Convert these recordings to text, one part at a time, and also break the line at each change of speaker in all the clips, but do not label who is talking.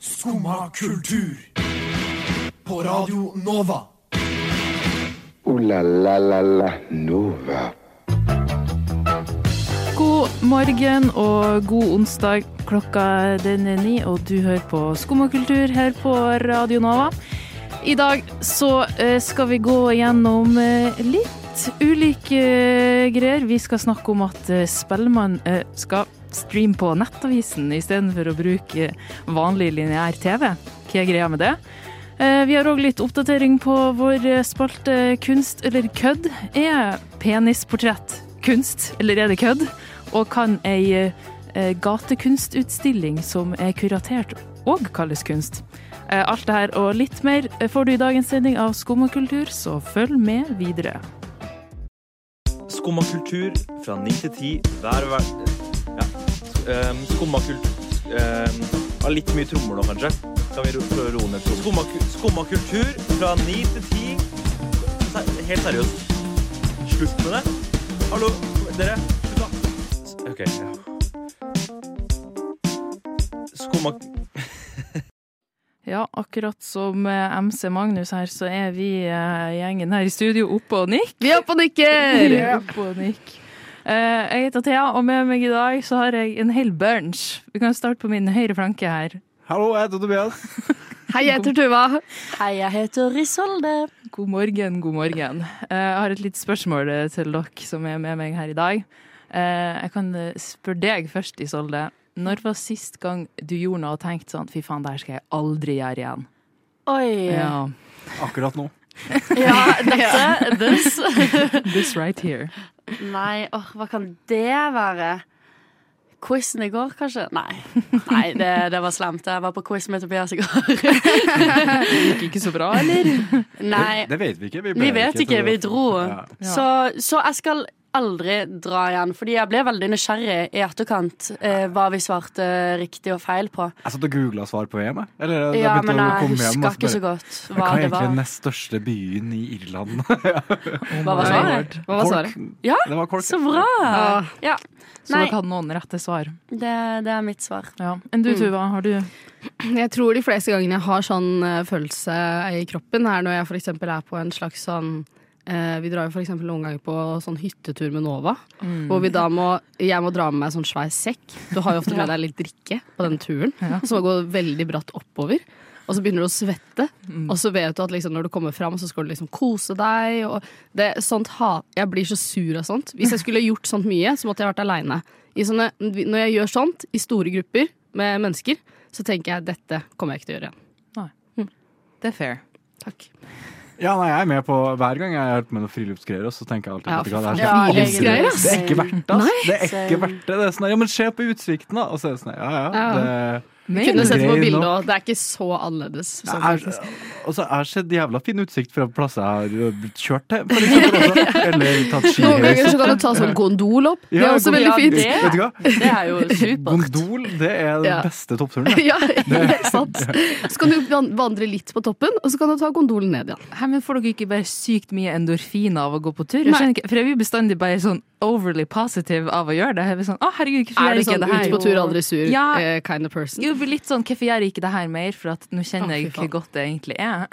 Skumma kultur. På Radio Nova.
Ooh la la la la Nova.
God morgen og god onsdag. Klokka den er ni, og du hører på Skummakultur her på Radio Nova. I dag så eh, skal vi gå gjennom eh, litt ulike eh, greier. Vi skal snakke om at eh, Spellemann eh, skal streame på Nettavisen istedenfor å bruke vanlig lineær TV. Hva er greia med det? Eh, Vi har òg litt oppdatering på vår eh, spalte Kunst eller kødd. Er penisportrett kunst, eller er det kødd? Og kan ei eh, gatekunstutstilling som er kuratert og kalles kunst? Eh, Alt det her og litt mer får du i dagens sending av Skum og kultur, så følg med videre.
Skumma kultur fra 9 til 10 hver hver... Ja. Um, Skumma kultur um, ja, Litt mye trommer nå, kanskje. Kan vi ro- prøve å roe ned trommen? Skumma, ku- skumma kultur fra 9 til 10 Se- Helt seriøst. Slutt med det. Hallo, dere. Slutt, da. S- OK. Ja. Skumma
Ja, akkurat som eh, MC Magnus her, så er vi eh, gjengen her i studio oppe og nikk. Vi er oppe og nikker! oppe og nikk. Eh, jeg heter Thea, og med meg i dag så har jeg en hel bunch. Vi kan starte på min høyre flanke her.
Hallo, jeg heter Tobias.
Hei, jeg heter Tuva.
Hei, jeg heter Isolde.
God morgen, god morgen. Eh, jeg har et litt spørsmål eh, til dere som er med meg her i dag. Eh, jeg kan eh, spørre deg først, Isolde. Når var sist gang du gjorde noe og tenkte sånn fy faen, det her skal jeg aldri gjøre igjen?
Oi. Ja.
Ja,
Akkurat nå.
dette, this.
this right here.
Nei, åh, hva kan det være? Quizen i går, kanskje? Nei, Nei det, det var slemt. Jeg var på quiz med Tobias i går.
Det gikk ikke så bra, eller?
Nei,
Det vet vi ikke.
vi vet ikke. Vi dro.
Ja.
Så, så jeg skal aldri dra igjen, fordi jeg ble veldig nysgjerrig i etterkant eh, hva vi svarte riktig og feil på.
Jeg satt og googla Altså, svar på VM. jeg. Eller, jeg
Ja,
begynte
men
å
jeg
komme hjem, og
husker ikke
bare,
så godt hva
Hva er
det
egentlig den
var.
nest største byen i Irland?
Oh
Hva var svaret?
Hva var svaret?
Cork.
Ja,
det var Cork.
Så bra! Ja.
Så
Nei,
dere hadde noen rette svar.
det, det er mitt svar.
Ja. Enn du, Tuva, har du
Jeg tror de fleste gangene jeg har sånn eh, følelse i kroppen, er når jeg for eksempel er på en slags sånn eh, Vi drar jo for eksempel noen ganger på sånn hyttetur med Nova,
Mm.
hvor vi da må Jeg må dra med meg sånn svær sekk. Du har jo ofte med deg litt drikke på den turen,
Ja.
som går veldig bratt oppover. Og så begynner du å svette,
Mm.
og så vet du at liksom når du kommer fram, så skal du liksom kose deg. Og det, sånt ha, jeg blir så sur av sånt. Hvis jeg skulle gjort sånt mye, så måtte jeg vært aleine. Når jeg gjør sånt i store grupper med mennesker, så tenker jeg dette kommer jeg ikke til å gjøre igjen. Mm.
Det er fair.
Takk.
Ja, nei, jeg er med på Hver gang jeg har vært med noen friluftsgreier, så tenker jeg alltid
Ja,
vet du
for
hva,
faen.
det her skal jeg
Ja,
aldri-
friluftsgreier,
Det er ikke verdt det. ass. Det er ikke
same.
verdt det. det er sånn, ja, men se på utsikten, da. Og så er det sånn, ja, ja.
Ja.
Det,
Jeg kunne sett på
Grei
bildet
nok.
òg. Det er ikke så annerledes.
Jeg
Sånn, faktisk.
er, og så er det sett jævla fin utsikt fra plasser jeg har blitt kjørt til. For eksempel, også. Eller tatt
Noen ganger
skihøys.
så kan du ta sånn gondol opp. Det er
Ja, gondol-
også veldig
ja,
fint.
det-
Vet du hva?
Det er jo supert.
Gondol, det er den
Ja.
beste toppturen. det.
Ja, helt sant. Så kan du van- vandre litt på toppen, og så kan du ta gondolen ned igjen.
Hæ, men får dere ikke bare sykt mye endorfin av å gå på tur? Jeg
Nei.
skjønner ikke, for jeg blir bestandig bare sånn overly positive av å gjøre det. Jeg blir sånn, å herregud, hvorfor
Er
gjør
du
jeg ikke
sånn
det her?
ut på tur, aldri sur
Ja.
eh, kind of person?
Jo, jeg blir litt sånn, hvorfor gjør jeg ikke det her mer? For at nå
Å,
kjenner jeg
fy
hvor
faen.
godt det egentlig er.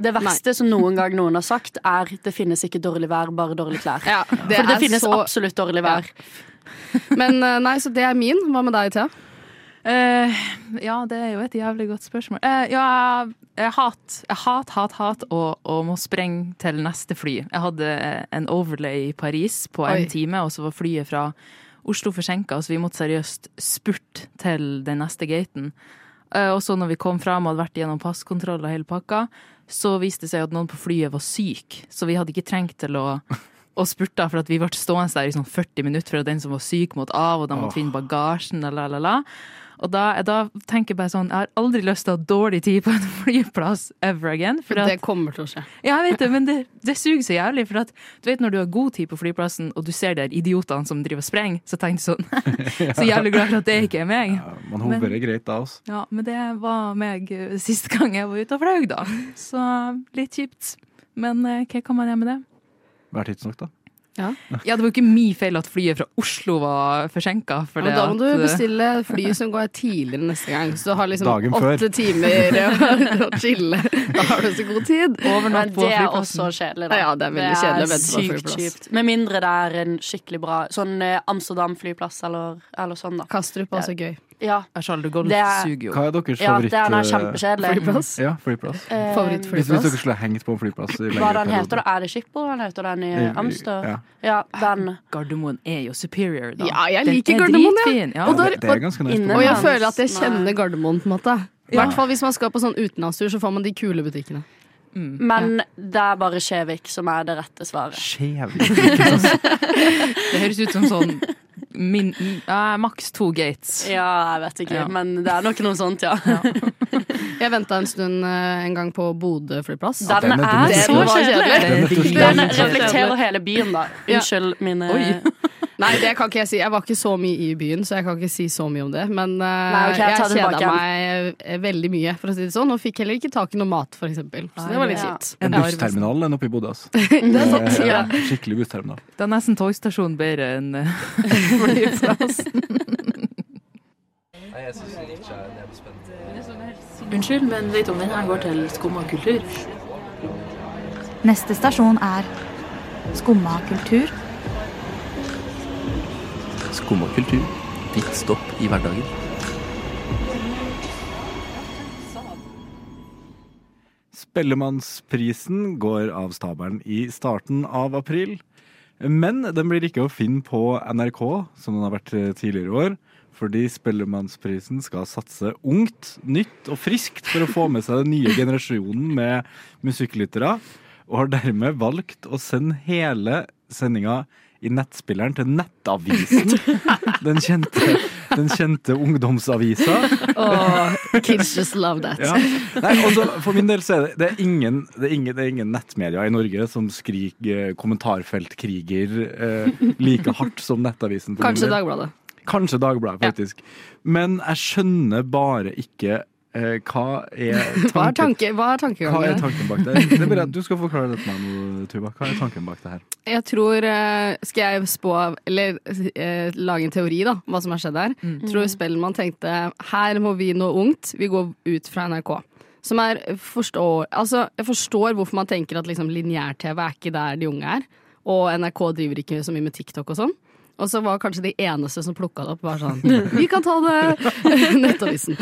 Det verste som noen gang noen har sagt, er det finnes ikke dårlig vær, bare dårlige klær.
Ja, det
For det
er
finnes
så
absolutt dårlig vær.
Men eh, nei, så det er min. Hva med deg, Thea?
Eh, ja, det er jo et jævlig godt spørsmål. Eh, ja, jeg hat, jeg hat, hat, hat og, og må sprenge til neste fly. Jeg hadde eh, en overlay i Paris på en
Oi.
time, og så var flyet fra Oslo forsinka, så vi måtte seriøst spurte til den neste gaten. Eh, og så når vi kom fram og hadde vært gjennom passkontroll og hele pakka, så viste det seg at noen på flyet var syk, så vi hadde ikke trengt til å og spurta for at vi ble stående der i sånn 40 minutter for at den som var syk måtte av, og de måtte finne bagasjen, og la, la, la. Og da, da tenker jeg bare sånn, jeg har aldri lyst til å ha dårlig tid på en flyplass ever again. For at,
Det kommer til å skje.
ja, jeg vet det, men det, det suger så jævlig. For at du vet når du har god tid på flyplassen, og du ser de her idiotene som driver og sprenger, så tenker du sånn Så jævlig glad for at det ikke er meg.
Ja, Man hover er greit da, altså.
Ja, men det var meg eh, sist gang jeg var ute og fløy, da. Så litt kjipt. Men eh, hva kan man gjøre med det?
Vær tidsnok, da.
Ja.
Ja, det var jo ikke min feil at flyet fra Oslo var forsinka.
Ja, men da må
eh,
eh,
du bestille fly som går tidligere neste gang. Så du har liksom
Dagen før.
åtte timer eh, å- å chille. Da har du så god tid.
Men
Overnatt på
det er
flyplassen.
også kjedelig, da.
Ja, det er veldig kjedelig
Det
å
er
vente på
sykt
flyplass.
kjipt. Med mindre det er en skikkelig bra sånn eh, Amsterdam-flyplass eller, eller sånn, da.
Kastrup er også gøy.
Ja,
Charles de Gaulle
Det er-
suger jo.
Hva er deres
ja
favoritt...
den er
eh,
kjempekjedelig.
Flyplass.
Ja, flyplass.
Eh,
Hvis, hvis dere
Favorittflyplass.
skulle hengt på en flyplass
Hva
i
den
lengre perioder.
heter da? Er det Schiphol den heter, den i
Eh,
Amster?
ja.
Ja, den.
Gardermoen er jo superior, da.
Ja, jeg
Den
liker
er
Gardermoen, ja.
dritfin, ja.
Og da-
det, det er ganske nice.
inne-
Og jeg
Nei.
føler at jeg
Nei.
kjenner Gardermoen, på en måte. I
Ja.
hvert fall hvis man skal på sånn utenlandstur, så får man de kule butikkene.
Men det er bare Skjevik som er det rette svaret.
Skjev.
Det høres ut som sånn min, eh, maks to gates.
Ja, jeg vet ikke,
Ja.
men det er nok noe sånt, ja.
Jeg venta en stund eh, en gang på Bodø flyplass.
Ja,
Den
den er-
er
den er
så
kjedelig.
kjedelig.
Den er dritkjedelig.
Den
Den er
reflekterer hele byen, da.
Ja.
Unnskyld mine
Oi.
Nei, det kan ikke jeg si. Jeg var ikke så mye i byen, så jeg kan ikke si så mye om det. Men eh,
ok, jeg tar
jeg
det tilbake
kjeda
igjen.
meg eh, veldig mye, for å si det sånn. Og fikk heller ikke tak i noe mat, for eksempel. Så det var litt
Ja.
kjipt.
En
Ja.
bussterminal enn oppe i Bodø, altså.
Det er sant.
Eh,
Ja.
Skikkelig bussterminal.
Det er nesten togstasjonen bedre enn eh,
Unnskyld, men vet du om denne går til skum og kultur?
Neste stasjon er Skumma kultur.
Skum og kultur. Ditt stopp i hverdagen.
Spellemannsprisen går av stabelen i starten av april. Men den blir ikke å finne på NRK, som den har vært eh, tidligere i år. Fordi Spellemannsprisen skal satse ungt, nytt og friskt for å få med seg den nye generasjonen med musikklyttere. Og har dermed valgt å sende hele sendinga i nettspilleren til Nettavisen. Den kjente, den kjente ungdomsavisa.
Og kids just love that.
Ja. Nei, altså, for min del så er det, det, er ingen, det, er ingen, det er ingen nettmedia i Norge som skriker eh, kommentarfeltkriger eh, like hardt som Nettavisen. for min
Kanskje
del.
Dagbladet.
Kanskje Dagbladet, faktisk. Men jeg skjønner bare ikke eh, hva er
Hva er,
tanken.
tanke, hva
Hva
er
er
tankegangen?
tanken bak det? det er bare, at du skal forklare det til meg nå, Tuva. Hva er tanken bak det her?
Jeg tror eh, Skal jeg spå, eller eh, lage en teori, da, om hva som har skjedd her? Tror Spellemann tenkte her må vi nå ungt, vi går ut fra NRK. Som er forstår, altså, Jeg forstår hvorfor man tenker at liksom, lineær-TV er ikke der de unge er. Og NRK driver ikke så mye med TikTok og sånn. Og så var kanskje de eneste som plukka det opp, var sånn Vi kan ta det! Nettavisen.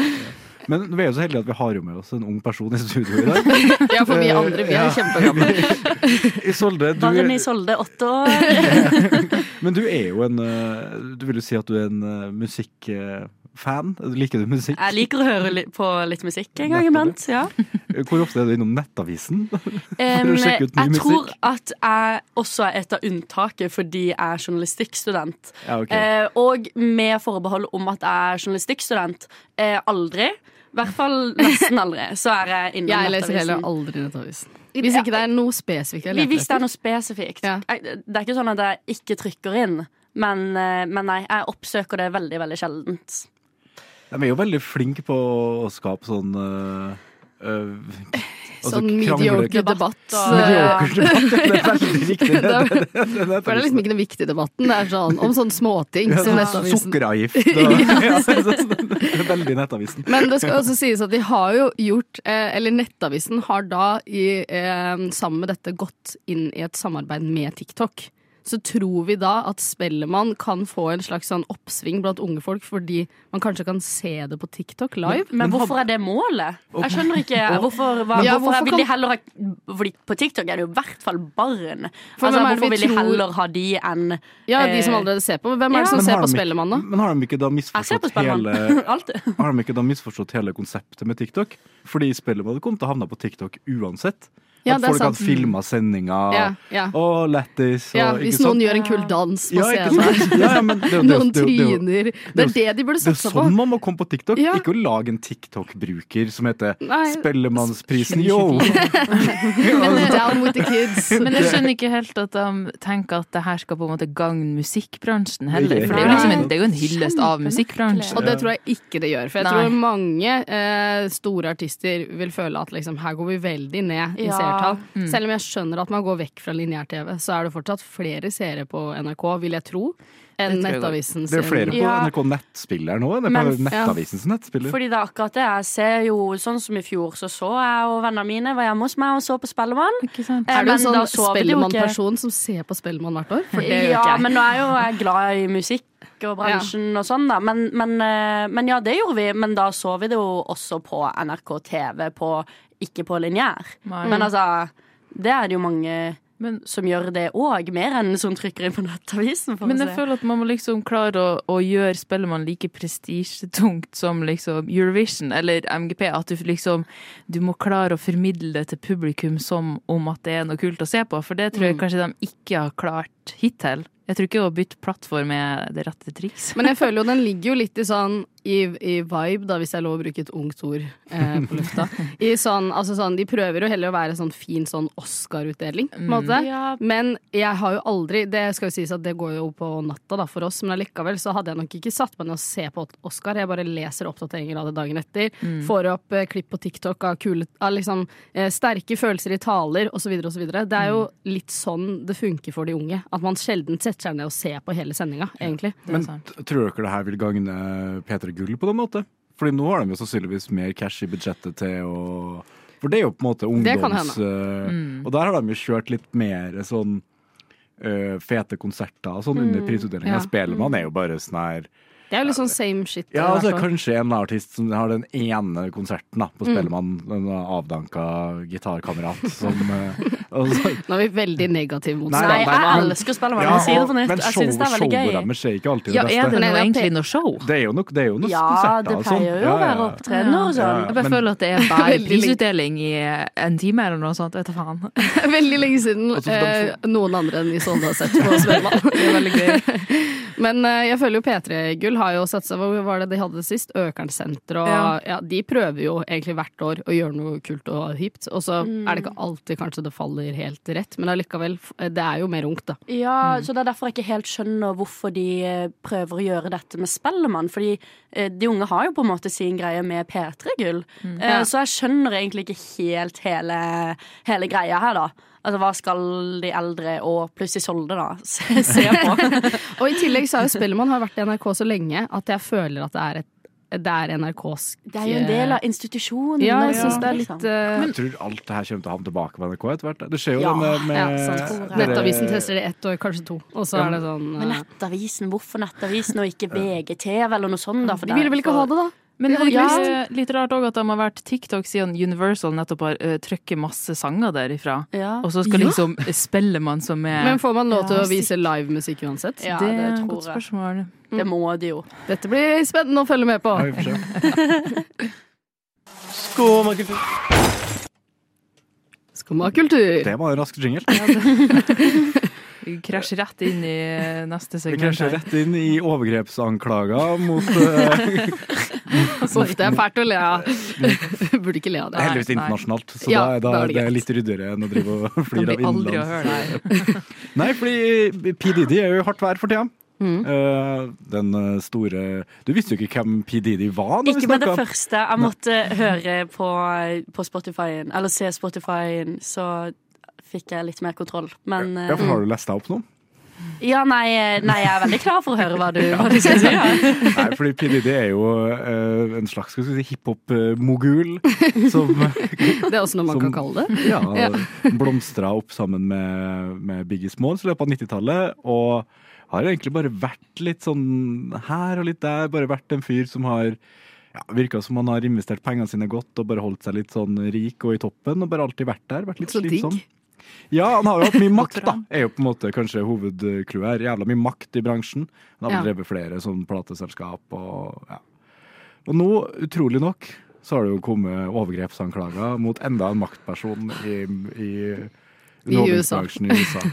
Men vi er jo så heldige at vi har jo med oss en ung person i studio i dag.
Ja, for vi andre, vi er
Ja.
kjempegamle.
Isolde, du
Maren Isolde, åtte år.
Men du er jo en eh, Du vil jo si at du er en eh, musikkfan? Liker du musikk?
Jeg liker å høre li på litt musikk en gang
Nettopp.
iblant. Ja.
Hvor ofte er du innom Nettavisen?
Em,
du
jeg
sjekke ut ny musikk?
tror at jeg også er et av unntaket fordi jeg er journalistikkstudent.
Ja, ok.
Eh, og med forbehold om at jeg er journalistikkstudent. Eh, aldri. I hvert fall nesten aldri. Så er jeg innom
Jeg leser heller
Nettavisen.
aldri Nettavisen. Hvis ikke det er noe spesifikt jeg
Vi-
leter
Hvis det
etter.
er noe spesifikt.
Ja.
Jeg, det er ikke sånn at jeg ikke trykker inn. Men, eh, men nei, jeg oppsøker det veldig, veldig sjeldent.
De er jo veldig flinke på å skape sånn øh, øh, altså
Sånn
krangle-
mediocre debatt.
og-
eh,
Mediocre debatt, ja, det er veldig riktig. Det, det, det, det, det,
For det er liksom ikke den viktige debatten. Det er sånn om sånne småting.
Ja,
som
sånn
Nettavisen.
Sukkeravgift og ja, det er sånn- det er Veldig Nettavisen.
Men det skal også sies at de har jo gjort eh, Eller Nettavisen har da i, eh, sammen med dette gått inn i et samarbeid med TikTok. Så tror vi da at Spellemann kan få en slags sånn oppsving blant unge folk fordi man kanskje kan se det på TikTok live.
Men hvorfor er det målet? Jeg skjønner ikke Hvorfor, hva,
Ja,
hvorfor
hvorfor
vil de
kan-
heller ha Fordi på TikTok er det jo i hvert fall barn.
For
Altså,
hvem er det
hvorfor
vi
vil de
tror-
heller ha de enn
Ja, de som
Eh,
allerede ser på. Hvem er det som
Men
ser
har
på
de ikke-
Spellemann, da?
Men har de ikke da
Jeg ser på
misforstått hele
Spellemann. Alltid.
Har de ikke da misforstått hele konseptet med TikTok? Fordi Spellemann kom til å havne på TikTok uansett.
Ja,
At
det er
folk
sant.
hadde filma sendinga.
Ja, ja.
Og lættis. og-
Ja,
ikke
hvis
sant?
noen gjør en kul dans på
Ja, ikke
scenen.
sant? Ja, ja, men det, er jo- det, er jo-
Noen
det, er jo- det, er jo-
tryner. Det er det de burde
Det er
satsa på.
sånn man må komme på TikTok.
Ja.
Ikke å lage en TikTok-bruker som heter
Nei.
Spellemannsprisen yo!
Men down with the kids.
Men jeg skjønner ikke helt at de tenker at det her skal på en måte gagne musikkbransjen heller. For det er
Nei.
jo, liksom en, det er jo en hyllest av musikkbransjen.
Og det tror jeg ikke det gjør. For jeg
Nei.
tror mange eh, store artister vil føle at liksom, her går vi veldig ned i
Ja.
seertall.
Mm.
Selv om jeg skjønner at man går vekk fra lineær-TV, så er det fortsatt flere seere på NRK, vil jeg tro, enn Nettavisen
Det er flere på
Ja.
NRK Nettspiller nå enn det
Men-
på Nettavisens nettspiller.
Fordi det er akkurat det. Jeg ser jo sånn som i fjor, så så jeg og vennene mine var hjemme hos meg og så på Spellemann. Eh,
Er du
men
en
da
sånn
sover de jo ikke-
Spellemann-person som ser på Spellemann hvert år? For det gjør
ja,
ikke jeg.
men nå er jo jeg glad i musikk og bransjen og sånn, da. Men, men, eh, men ja, det gjorde vi. Men da så vi det jo også på NRK TV, på, ikke på lineær.
Nei.
Men altså, det er det jo mange
Men-
som gjør det òg, mer enn som trykker inn på Nettavisen. For
Men
å
jeg
se.
føler at man må liksom klare å, å gjøre Spellemann like prestisjetungt som liksom Eurovision eller MGP. At du liksom Du må klare å formidle det til publikum som om at det er noe kult å se på. For det tror
Mm.
jeg kanskje de ikke har klart hittil. Jeg tror ikke å bytte plattform er det rette triks.
Men jeg føler jo den ligger jo litt i sånn i, i vibe, da, hvis jeg er lov å bruke et ungt ord eh, på lufta. I sånn, altså sånn, de prøver jo heller å være sånn fin sånn Oscar-utdeling,
Mm.
på en måte.
Ja.
Men jeg har jo aldri Det skal jo sies at det går jo på natta da, for oss, men allikevel så hadde jeg nok ikke satt meg ned og se på Oscar. Jeg bare leser oppdateringer av det dagen etter.
Mm.
Får opp eh, klipp på TikTok av, kule, av liksom, eh, sterke følelser i taler osv. osv. Det er jo litt sånn det funker for de unge. At man sjelden setter seg ned og ser på hele sendinga, egentlig.
Men t- tror dere det her vil gagne P3 Gull på den måte? Fordi nå har de jo sannsynligvis mer cash i budsjettet til å For det er jo på en måte
Det kan
ungdoms...
hende.
eh,
Mm.
Og der har de jo kjørt litt mer sånn eh, fete konserter og sånn under
Mm,
prisutdelinga.
ja.
Spellemann er jo bare sånn her
Det er jo litt sånn same shit.
Ja,
i
altså
hvert fall.
kanskje en artist som har den ene konserten da, på
Mm.
Spellemann. En avdanka gitarkamerat som eh, og så,
Nå er vi veldig negative mot
Nei,
Spellemann.
nei, nei, men- Ja, og- Men
Jeg synes det er veldig
show-
gøy.
showet deres er ikke alltid
Ja,
det beste.
er det nå egentlig
noe show?
Det er jo noe, det er jo noe
Ja,
konserter
det
og sånn.
pleier jo å være opptredener og sånn.
Jeg bare føler at det er bare prisutdeling i eh, en time eller noe sånt. Vet du faen.
Veldig lenge siden eh, noen andre enn Isolde har sett på Spellemann. Men eh, jeg føler jo P3 Gull har jo satsa Hvor var det de hadde det sist? Økernsenteret og
Ja.
ja. De prøver jo egentlig hvert år å gjøre noe kult og hipt. Og så
Mm.
er det ikke alltid kanskje det faller helt rett, men allikevel, f- eh, det er jo mer ungt, da.
Ja, så Det er derfor jeg ikke helt skjønner hvorfor de eh, prøver å gjøre dette med Spellemann. Fordi eh, de unge har jo på en måte sin greie med P3-gull.
Mm.
Eh,
Ja.
Så jeg skjønner egentlig ikke helt hele, hele greia her, da. Altså, Hva skal de eldre og pluss Isolde, da, se, se på?
Og i tillegg så har jo Spellemann har vært i NRK så lenge at jeg føler at det er, et, det er NRKs
Det er jo en del av institusjonen.
Ja, jeg
og-
syns det er
liksom.
litt eh,
Jeg tror alt det her kommer til å havne tilbake på NRK etter hvert. Det skjer jo
Ja,
det med, med
ja, sant.
dere-
Nettavisen tester det i ett år, kanskje to. Og så
Ja,
er
men-
det sånn
Men Nettavisen, hvorfor Nettavisen og ikke VGTV eller noe sånt? da? For
De ville vel ikke ha det, da?
Men det
hadde
er
ikke
litt, litt rart òg at de har vært TikTok siden Universal nettopp har uh, trykket masse sanger derifra.
Ja.
Og så skal
Ja.
liksom Spellemann som er
Men får man lov til
Ja,
å vise livemusikk uansett?
Ja,
det,
det
er et
tror
godt
jeg.
spørsmål.
Det må de jo.
Dette blir spennende å følge med på.
Skumma kultur.
Skumma kultur.
Det var en rask jingle.
Vi krasjer rett inn i eh, neste
Vi
segment.
krasjer
her.
rett inn i overgrepsanklager mot eh,
Uff, det er fælt å le av. Burde ikke le av det.
Heldigvis internasjonalt, så da,
Ja,
er- da,
da er det
det er det litt ryddigere enn å drive og
Det
flire av
blir aldri å høre
innenlands.
det her.
Nei, fordi P. Didi er jo i hardt vær for tida.
Mm.
Eh, den eh, store Du visste jo ikke hvem P. Didi var. når vi
Ikke med det
snakket.
første. Jeg måtte høre på, på Spotify-en, eller se Spotify-en, så fikk jeg litt mer kontroll. Men eh,
Ja, for Har du lest deg opp nå?
Ja, nei, eh, nei, jeg er veldig klar for å høre hva du, hva du skal si. Ja.
Nei, fordi P. Diddy er jo eh, en slags skal vi si, hiphop-mogul som,
Det er også noe man
som-
kan kalle det.
ja,
Ja.
blomstra opp sammen med, med Biggie Smalls i løpet av 90-tallet. Og har egentlig bare vært litt sånn her og litt der. Bare vært en fyr som har ja, Virka som han har investert pengene sine godt og bare holdt seg litt sånn rik og i toppen. Og bare alltid vært der. Vært litt
Så digg.
slitsom. Ja, han har jo hatt mye makt, da. Er jo på en måte kanskje hovedclouet her. Jævla mye makt i bransjen. Han har
Ja.
vel drevet flere sånn plateselskap og ja. Og nå, utrolig nok, så har det jo kommet overgrepsanklager mot enda en maktperson i, i
I USA.
Underholdningsbransjen i USA.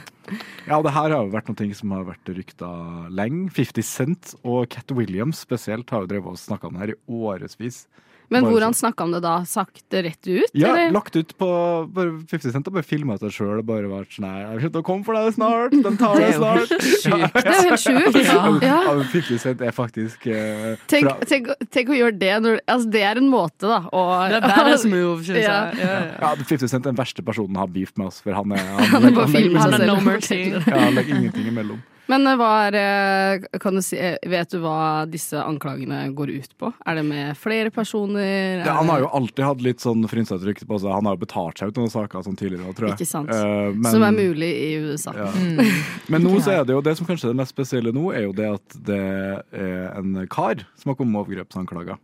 Ja, og det her har jo vært noe som har vært rykta lenge. 50 Cent og Cat Williams spesielt har jo drevet og snakka om det her i årevis.
Men
Bare
hvor
så-
han snakka om det da? Sakte rett ut?
Ja,
eller?
lagt ut på bare 50 Cent og bare filma seg sjøl og bare vært sånn Nei, jeg kommer til å komme for deg snart! De tar
Det
deg
er jo
snart!
sjukt. Det er jo helt sjukt.
Ja.
Ja.
men 50 Cent er faktisk eh,
Tenk,
fra-
tenk, tenk å gjøre det når altså, Det er en måte, da. Å,
Det er badass move, synes jeg.
Ja.
Ja, ja.
ja, 50 Cent er den verste personen har beef med oss, for han er
Han er bare
legger-
filmer seg
legger-
selv.
No mercy.
Ja, han legger ingenting imellom.
Men eh, hva er, eh, kan du si, eh, vet du hva disse anklagene går ut på? Er det med flere personer?
Ja, han har jo alltid hatt litt sånn frynsete på seg. Han har jo betalt seg ut noen saker sånn tidligere òg, tror jeg.
Ikke sant.
Eh, men-
Som er mulig Mm. i USA.
Ja. Men nå så er det jo det som kanskje er det mest spesielle nå, er jo det at det er en kar som har kommet med overgrepsanklager.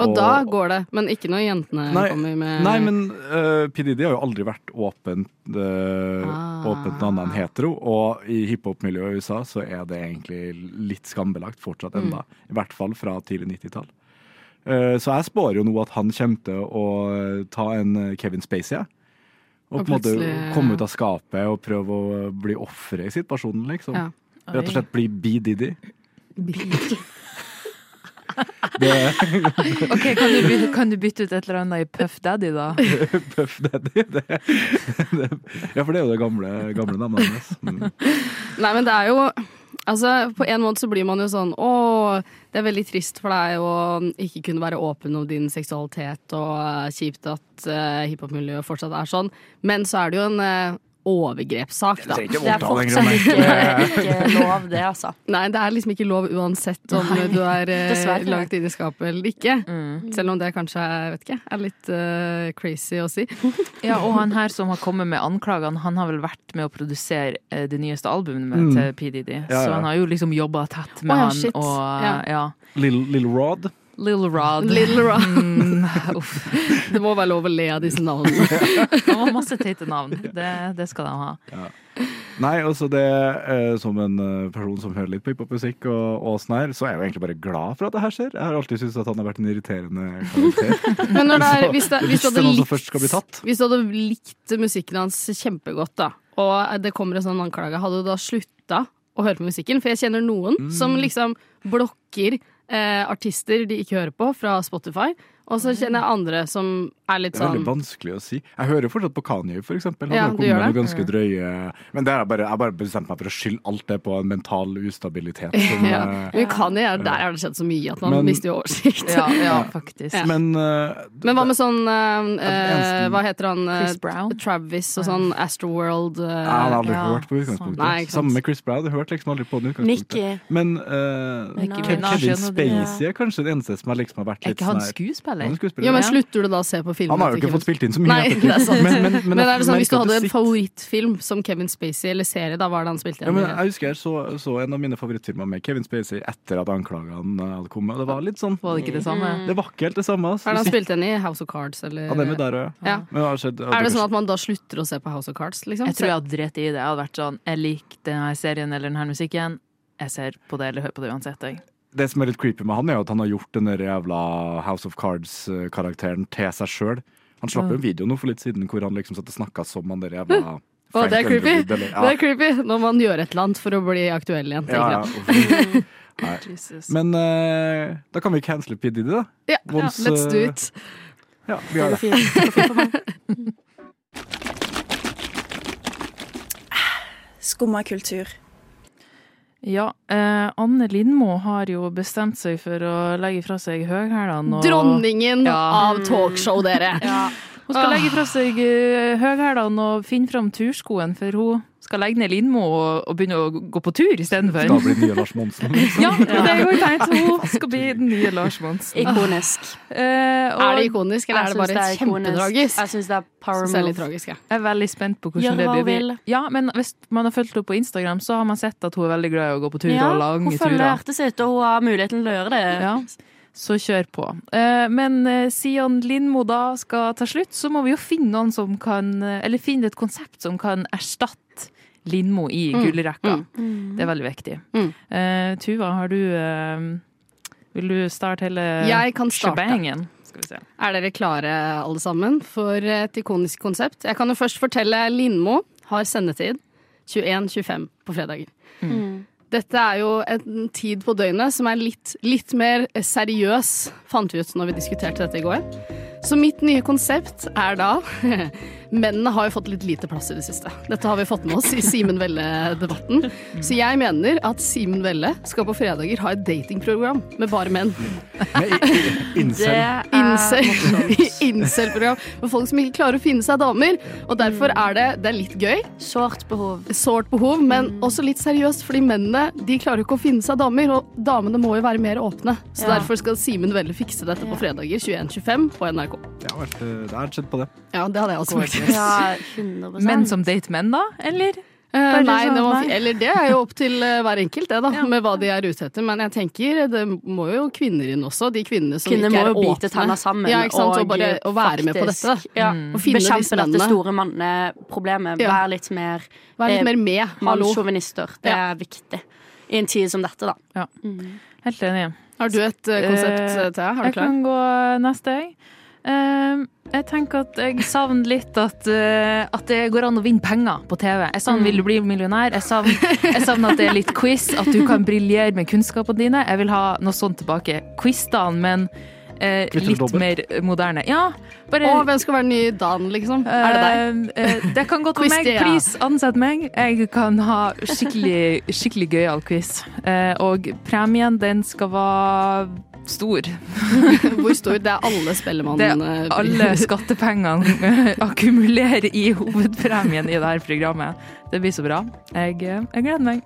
Og da går det, men ikke når jentene
Nei,
kommer med
Nei, men uh, P. Diddy har jo aldri vært åpent, eh,
Ah.
åpent noe annet enn hetero. Og i hiphop-miljøet i USA så er det egentlig litt skambelagt fortsatt
Mm.
enda. I hvert fall fra tidlig 90-tall. Eh, så jeg spår jo nå at han kommer til å ta en eh, Kevin Spacey. jeg. Og,
Og
på en måte
plutselig-
komme ut av skapet og prøve å bli offeret i situasjonen, liksom.
Ja.
Rett og slett bli B. Diddy.
Ok, kan du, bytte, kan du bytte ut et eller annet i Puff Daddy, da?
Puff Daddy. Det, det, ja, for det er jo det gamle, gamle navnet hans. Mm.
Nei, men det er jo Altså, På en måte så blir man jo sånn Å, det er veldig trist for deg å ikke kunne være åpen om din seksualitet, og eh, kjipt at uh, hiphop-miljøet fortsatt er sånn. Men så er det jo en eh, overgrepssak, da.
Jeg trenger ikke
Det er
voldta den
fortsatt
grunnen.
ikke, ikke lov, det, altså.
Nei, det er liksom ikke lov uansett om du er eh,
dessverre.
langt inne i skapet eller ikke.
Mm.
Selv om det kanskje jeg vet ikke, er litt eh, crazy å si.
Ja, og han her som har kommet med anklagene, han har vel vært med å produsere eh, det nyeste albumet med,
Mm.
til P. Diddy.
Ja,
Så
ja.
han har jo liksom jobba tett med
Å, ja,
han
shit.
og eh,
Ja.
ja.
Little, Little Rod.
Little Rod.
Little Rock.
Mm, uff.
Det må være lov å le av disse navnene.
Han har masse teite navn. Det, det skal de ha.
Nei, altså det eh, Som en eh, person som hører litt på hiphopmusikk og, og sånn her, så er jeg jo egentlig bare glad for at det her skjer. Jeg har alltid syntes at han har vært en irriterende karakter.
Men når det er, hvis, det,
Så,
hvis, du
det er
hadde
noen som
likt,
først skal bli tatt.
hvis du hadde likt musikken hans kjempegodt, da, og det kommer en sånn anklage, hadde du da slutta å høre på musikken? For jeg kjenner noen
Mm.
som liksom blokker eh, artister de ikke hører på, fra Spotify. Og så kjenner jeg andre som er litt
Det er
sånn
veldig vanskelig å si. Jeg hører jo fortsatt på Kanye, for eksempel. Han
Ja,
har
du
kommet
gjør
med
det.
noen ganske drøye Men det er bare, jeg har bare bestemt meg for å skylde alt det på en mental ustabilitet. Som,
ja.
eh,
Men Kanye, er- der er det skjedd så mye at man
Men-
mister jo oversikt.
Ja, ja faktisk.
Men eh,
Men hva med sånn eh, eh,
eneste-
Hva heter han? eh,
Chris Brown?
Travis og sånn Astroworld. eh,
Jeg har aldri
Ja,
hørt på utgangspunktet.
sånn. Nei, ikke sant.
Samme med Chris Brown, jeg hørte liksom aldri på den utgangspunktet.
Nikki.
Men eh,
Nicki
Ke-
Minaj
Kevin
og de-
Spacey er kanskje den eneste som har liksom har vært
Er
litt
ikke han
sånn her- Han
skuespiller?
er skuespiller.
Ja, men
Ja.
slutter du da å se på filmen?
Han har jo
til
ikke
Kevin
fått spilt inn så mye.
Nei,
ettertid.
det er sant.
Men, men, men,
Men, er det sånn, hvis du hadde
merker at
en
det sitter-
favorittfilm som Kevin Spacey eller serie, da hva er det han spilte
ja,
igjen?
men
i?
Jeg husker jeg så, så en av mine favorittfilmer med Kevin Spacey etter at anklagene eh, hadde kommet. og Det var litt sånn
Var det ikke det samme?
Mm.
Det var ikke helt det samme. ass.
Hva
Du
er det han
sitter-
spilte igjen i House of Cards, eller?
Ja, det er med der også, ja.
Ja.
Men det har skjedd-
Er det sånn at man da slutter å se på House of Cards, liksom?
Jeg tror jeg hadde drept i det. Jeg hadde vært sånn Jeg liker denne serien eller denne musikken. Jeg ser på det eller hører på det uansett. Jeg.
Det som er litt creepy med han, er jo at han har gjort den der jævla House of Cards-karakteren til seg sjøl. Han slapp jo en video nå for litt siden hvor han liksom satt og snakka som han der jævla
Å, det er
Frank
creepy.
Underwood, eller-
Det er creepy når man gjør et eller annet for å bli aktuell igjen, tenker
Ja,
jeg.
ja.
Jesus.
Men eh, da kan vi cancele P. Diddy, da.
Ja,
Once,
let's do
eh,
it.
Ja, vi gjør det.
Skumma kultur.
Ja, eh, Anne Lindmo har jo bestemt seg for å legge fra seg høghælene. og-
Dronningen
Ja.
av talkshow, dere!
Hun skal legge fra seg eh, høghælene og finne fram turskoen, for hun skal legge ned Lindmo og, og begynne å gå på tur
Da
istedenfor.
blir det nye Lars Monsen.
Ja, det er jo tenkt. Hun skal bli den nye Lars Monsen.
Ikonisk.
Eh, og
Er det ikonisk, Ah. eller
Jeg
er det
synes
bare
ikonisk.
kjempetragisk?
Jeg syns det er power
Synes jeg er litt
move.
tragisk, ja.
Jeg er veldig spent på
Gjør
hvordan det
hva hun
blir.
vil.
Ja, men hvis man har fulgt henne på Instagram, så har man sett at hun er veldig glad i å gå på tur og
hun
lange
følger
turer.
hjertet sitt, og hun har muligheten til å gjøre det.
Ja. Så kjør på. Eh, Men eh, siden Lindmo da skal ta slutt, så må vi jo finne noen som kan eh, Eller finne et konsept som kan erstatte Lindmo i gullrekka. Det er veldig viktig.
Mm.
Eh, Tuva, har du eh, Vil du starte hele
Jeg kan starte.
shebangen? Skal vi se.
Er dere klare alle sammen for et ikonisk konsept? Jeg kan jo først fortelle Lindmo har sendetid 21.25 på fredager.
Mm.
Dette er jo en tid på døgnet som er litt, litt mer seriøs, fant vi ut når vi diskuterte dette i går. Så mitt nye konsept er da Mennene har jo fått litt lite plass i det siste. Dette har vi fått med oss i Simen Velle-debatten. Så jeg mener at Simen Velle skal på fredager ha et datingprogram med bare menn.
Incel.
Eh,
Incel- Incel-program for folk som ikke klarer å finne seg damer. Og derfor er det, det er litt gøy,
Sårt behov.
sårt behov, men
Mm.
også litt seriøst, fordi mennene de klarer jo ikke å finne seg damer, og damene må jo være mer åpne. Så
Ja.
derfor skal Simen Velle fikse dette på fredager 21.25 på NRK.
Det har vært, eh, det har skjedd på det.
Ja, det hadde jeg også vært.
Ja, 100
Menn som date menn, da? Eller?
Eh,
Kanskje
nei,
sånn,
det var,
nei.
eller det er jo opp til eh, hver enkelt, det, da, med hva de er ute etter. Men jeg tenker eh, det må jo kvinner inn også. De kvinnene som
Kvinner
ikke
må jo
er åpne.
bite tenna sammen
ja, ikke sant? Og, bare,
eh,
og være med på dette.
faktisk, Ja.
Og finne disse
Mm. Bekjempe dette
mennene.
store manneproblemet.
Ja.
Vær litt mer
Være litt
eh,
mer med. Hallo.
mannssjåvinister. Det
Ja.
er viktig i en tid som dette, da.
Helt enig.
Har du et eh, konsept,
Eh,
eh, Thea? Har
Jeg
du klar?
kan gå neste, jeg. Eh, jeg tenker at jeg savner litt at, eh, at det går an å vinne penger på TV. Jeg
Mm.
savner 'Vil du bli millionær'? Jeg savner, jeg savner at det er litt quiz, at du kan briljere med kunnskapene dine. Jeg vil ha noe sånt tilbake. Quiz-dagen, men eh,
Kvitter du
litt
dobbelt?
mer moderne. Ja, bare
Å, hvem skal være den nye Dan, liksom? er det deg?
Eh, eh, det kan godt være
Quiz
meg.
det, ja.
Please, ansett meg. Jeg kan ha skikkelig, skikkelig gøyal quiz. Eh, og premien, den skal være stor.
Hvor stor? Det er alle spellemann...
Det
eh,
Alle skattepengene akkumulerer i hovedpremien i det her programmet. Det blir så bra. Jeg, eh, jeg gleder meg.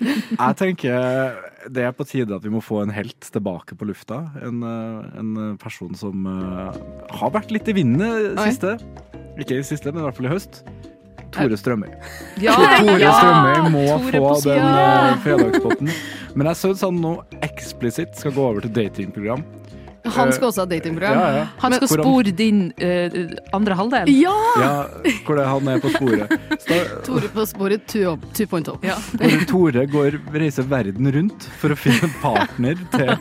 Jeg tenker det er på tide at vi må få en helt tilbake på lufta. En, eh, en person som eh, har vært litt i vinden eh,
Oi.
siste. Ikke i siste, men i hvert fall i høst. Tore Strømøy.
Ja,
Tore Strømøy må
Tore
få
på
den
siden.
eh, fredagspotten. Men jeg syns han nå eksplisitt skal gå over til datingprogram.
Han skal også ha datingprogram.
Ja, ja.
Han skal
Hvordan-
spore din eh, andre halvdel.
Ja!
Ja, hvor det, han er på sporet. Så da,
Tore på sporet 2.0. Ja.
Hvor Tore går, reiser verden rundt for å finne en partner til,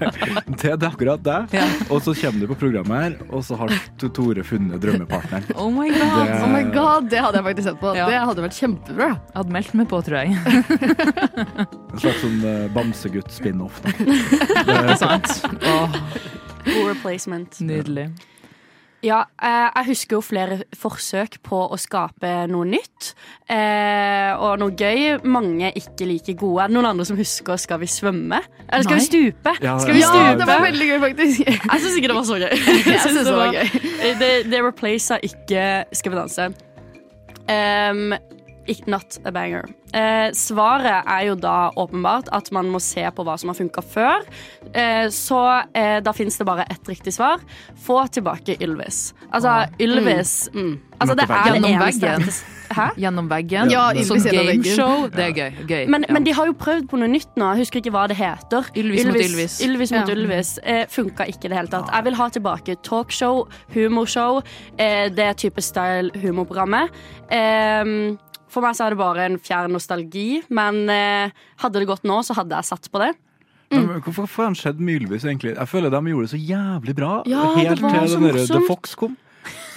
til det akkurat deg.
Ja.
Og så kommer du på programmet her, og så har T- Tore funnet drømmepartneren.
Oh my god.
Det-
Oh my god, det hadde jeg faktisk sett på.
Ja.
Det hadde vært kjempebra.
Jeg hadde meldt meg på, tror jeg.
En slags sånn eh, bamsegutt-spin-off. da. Eh,
Ikke sant? Åh,
God replacement.
nydelig.
Ja, eh, jeg husker jo flere forsøk på å skape noe nytt eh, og noe gøy. Mange ikke like gode. Er det noen andre som husker 'Skal vi svømme'? Eller 'Skal
Nei.
vi stupe'?
Ja,
skal vi
ja,
stupe?
det var
veldig gøy, faktisk.
Jeg syns ikke det var så gøy.
Jeg synes det var gøy.
Eh, Det, det replacer ikke 'Skal vi danse'. Ehm, ikke- not a banger. Eh, svaret er jo da åpenbart at man må se på hva som har funka før. Eh, så eh, da fins det bare ett riktig svar. Få tilbake Ylvis. Altså, Ylvis
Mm.
Altså, det er det
Gjennom veggen.
eneste Hæ?
Gjennom veggen.
Ja, Ylvis
Sånn
gjennom veggen.
gameshow. Det er gøy. gøy.
Men,
ja.
men de har jo prøvd på noe nytt nå. Jeg husker ikke hva det heter.
Ylvis mot Ylvis.
mot
Ja.
Ylvis. Eh, funka ikke i det hele tatt. Jeg vil ha tilbake talkshow, humorshow, eh, det type style humorprogrammet. Eh, for meg så er det bare en fjern nostalgi, men eh, hadde det gått nå, så hadde jeg satt på det.
Mm.
Men Hvorfor får han skjedd Mylvis, egentlig? Jeg føler de gjorde det så jævlig bra.
Ja, det
helt
var
til
så
den der
morsomt.
The Fox kom.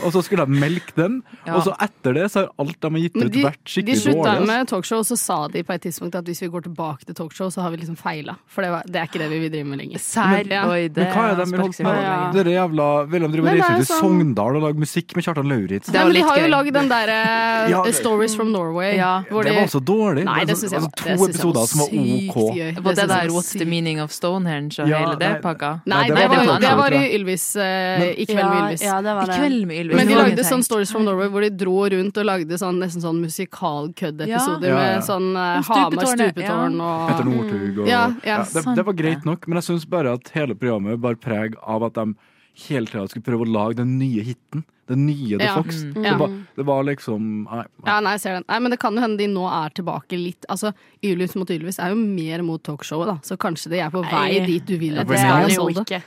Og så skulle de melke den,
Ja.
og så etter det så har alt de har gitt
Men
ut,
de,
vært
de
skikkelig dårlig.
slutta
altså.
med talkshow, og så sa de på et tidspunkt at hvis vi går tilbake til talkshow, så har vi liksom feila. For det, var, det er ikke det vi vil drive med lenger.
Sær,
Ja.
oi, det
Men hva er det de
sparker
holdt på med?
seg over lenge.
Dere jævla Vil de drive
Nei,
og
det
reise
er
ut i
sånn-
Sogndal og lage musikk med Kjartan
Det var
Lauritzen?
Nei, men de
litt
har jo
gøy.
lagd den derre
Ja, det-
Stories from Norway.
Ja.
hvor
Det
de-
var også dårlig.
Nei, det
altså,
syns jeg,
altså, to
det synes jeg
episoder som var
sykt
OK.
gøy.
Var det
synes jeg
der What's the
sykt-
meaning of Stonehenge og
Ja,
hele det
nei.
pakka?
Nei,
Nei,
det
det var
var,
litt
det
annet,
var i
tror
Ylvis, eh, i kveld med Ylvis.
ja, det var
I
det.
kveld med Ylvis.
Men de
Det var
lagde
tenkt.
sånn Stories from Norway hvor de dro rundt og lagde sånn, nesten sånn
Ja.
musikalkøddepisoder
Ja, ja.
med sånn eh,
Om
Hamar
stupetårnet, ja.
stupetårn og
Petter Northug og
Ja, ja,
det,
sant
det var greit nok, men jeg syns bare at hele programmet bar preg av at de hele tida skulle prøve å lage den nye hiten. Den nye The
Ja.
Fox.
Mm.
Det,
Ja.
var, det var liksom Nei. nei.
Ja, nei, jeg ser den. Nei, men det kan jo hende de nå er tilbake litt. Altså, Ylvis mot Ylvis er jo mer mot talkshowet, da. Så kanskje de er på vei
Nei,
dit du vil at
Det
de
er
skal.
det jo
Solde.
ikke.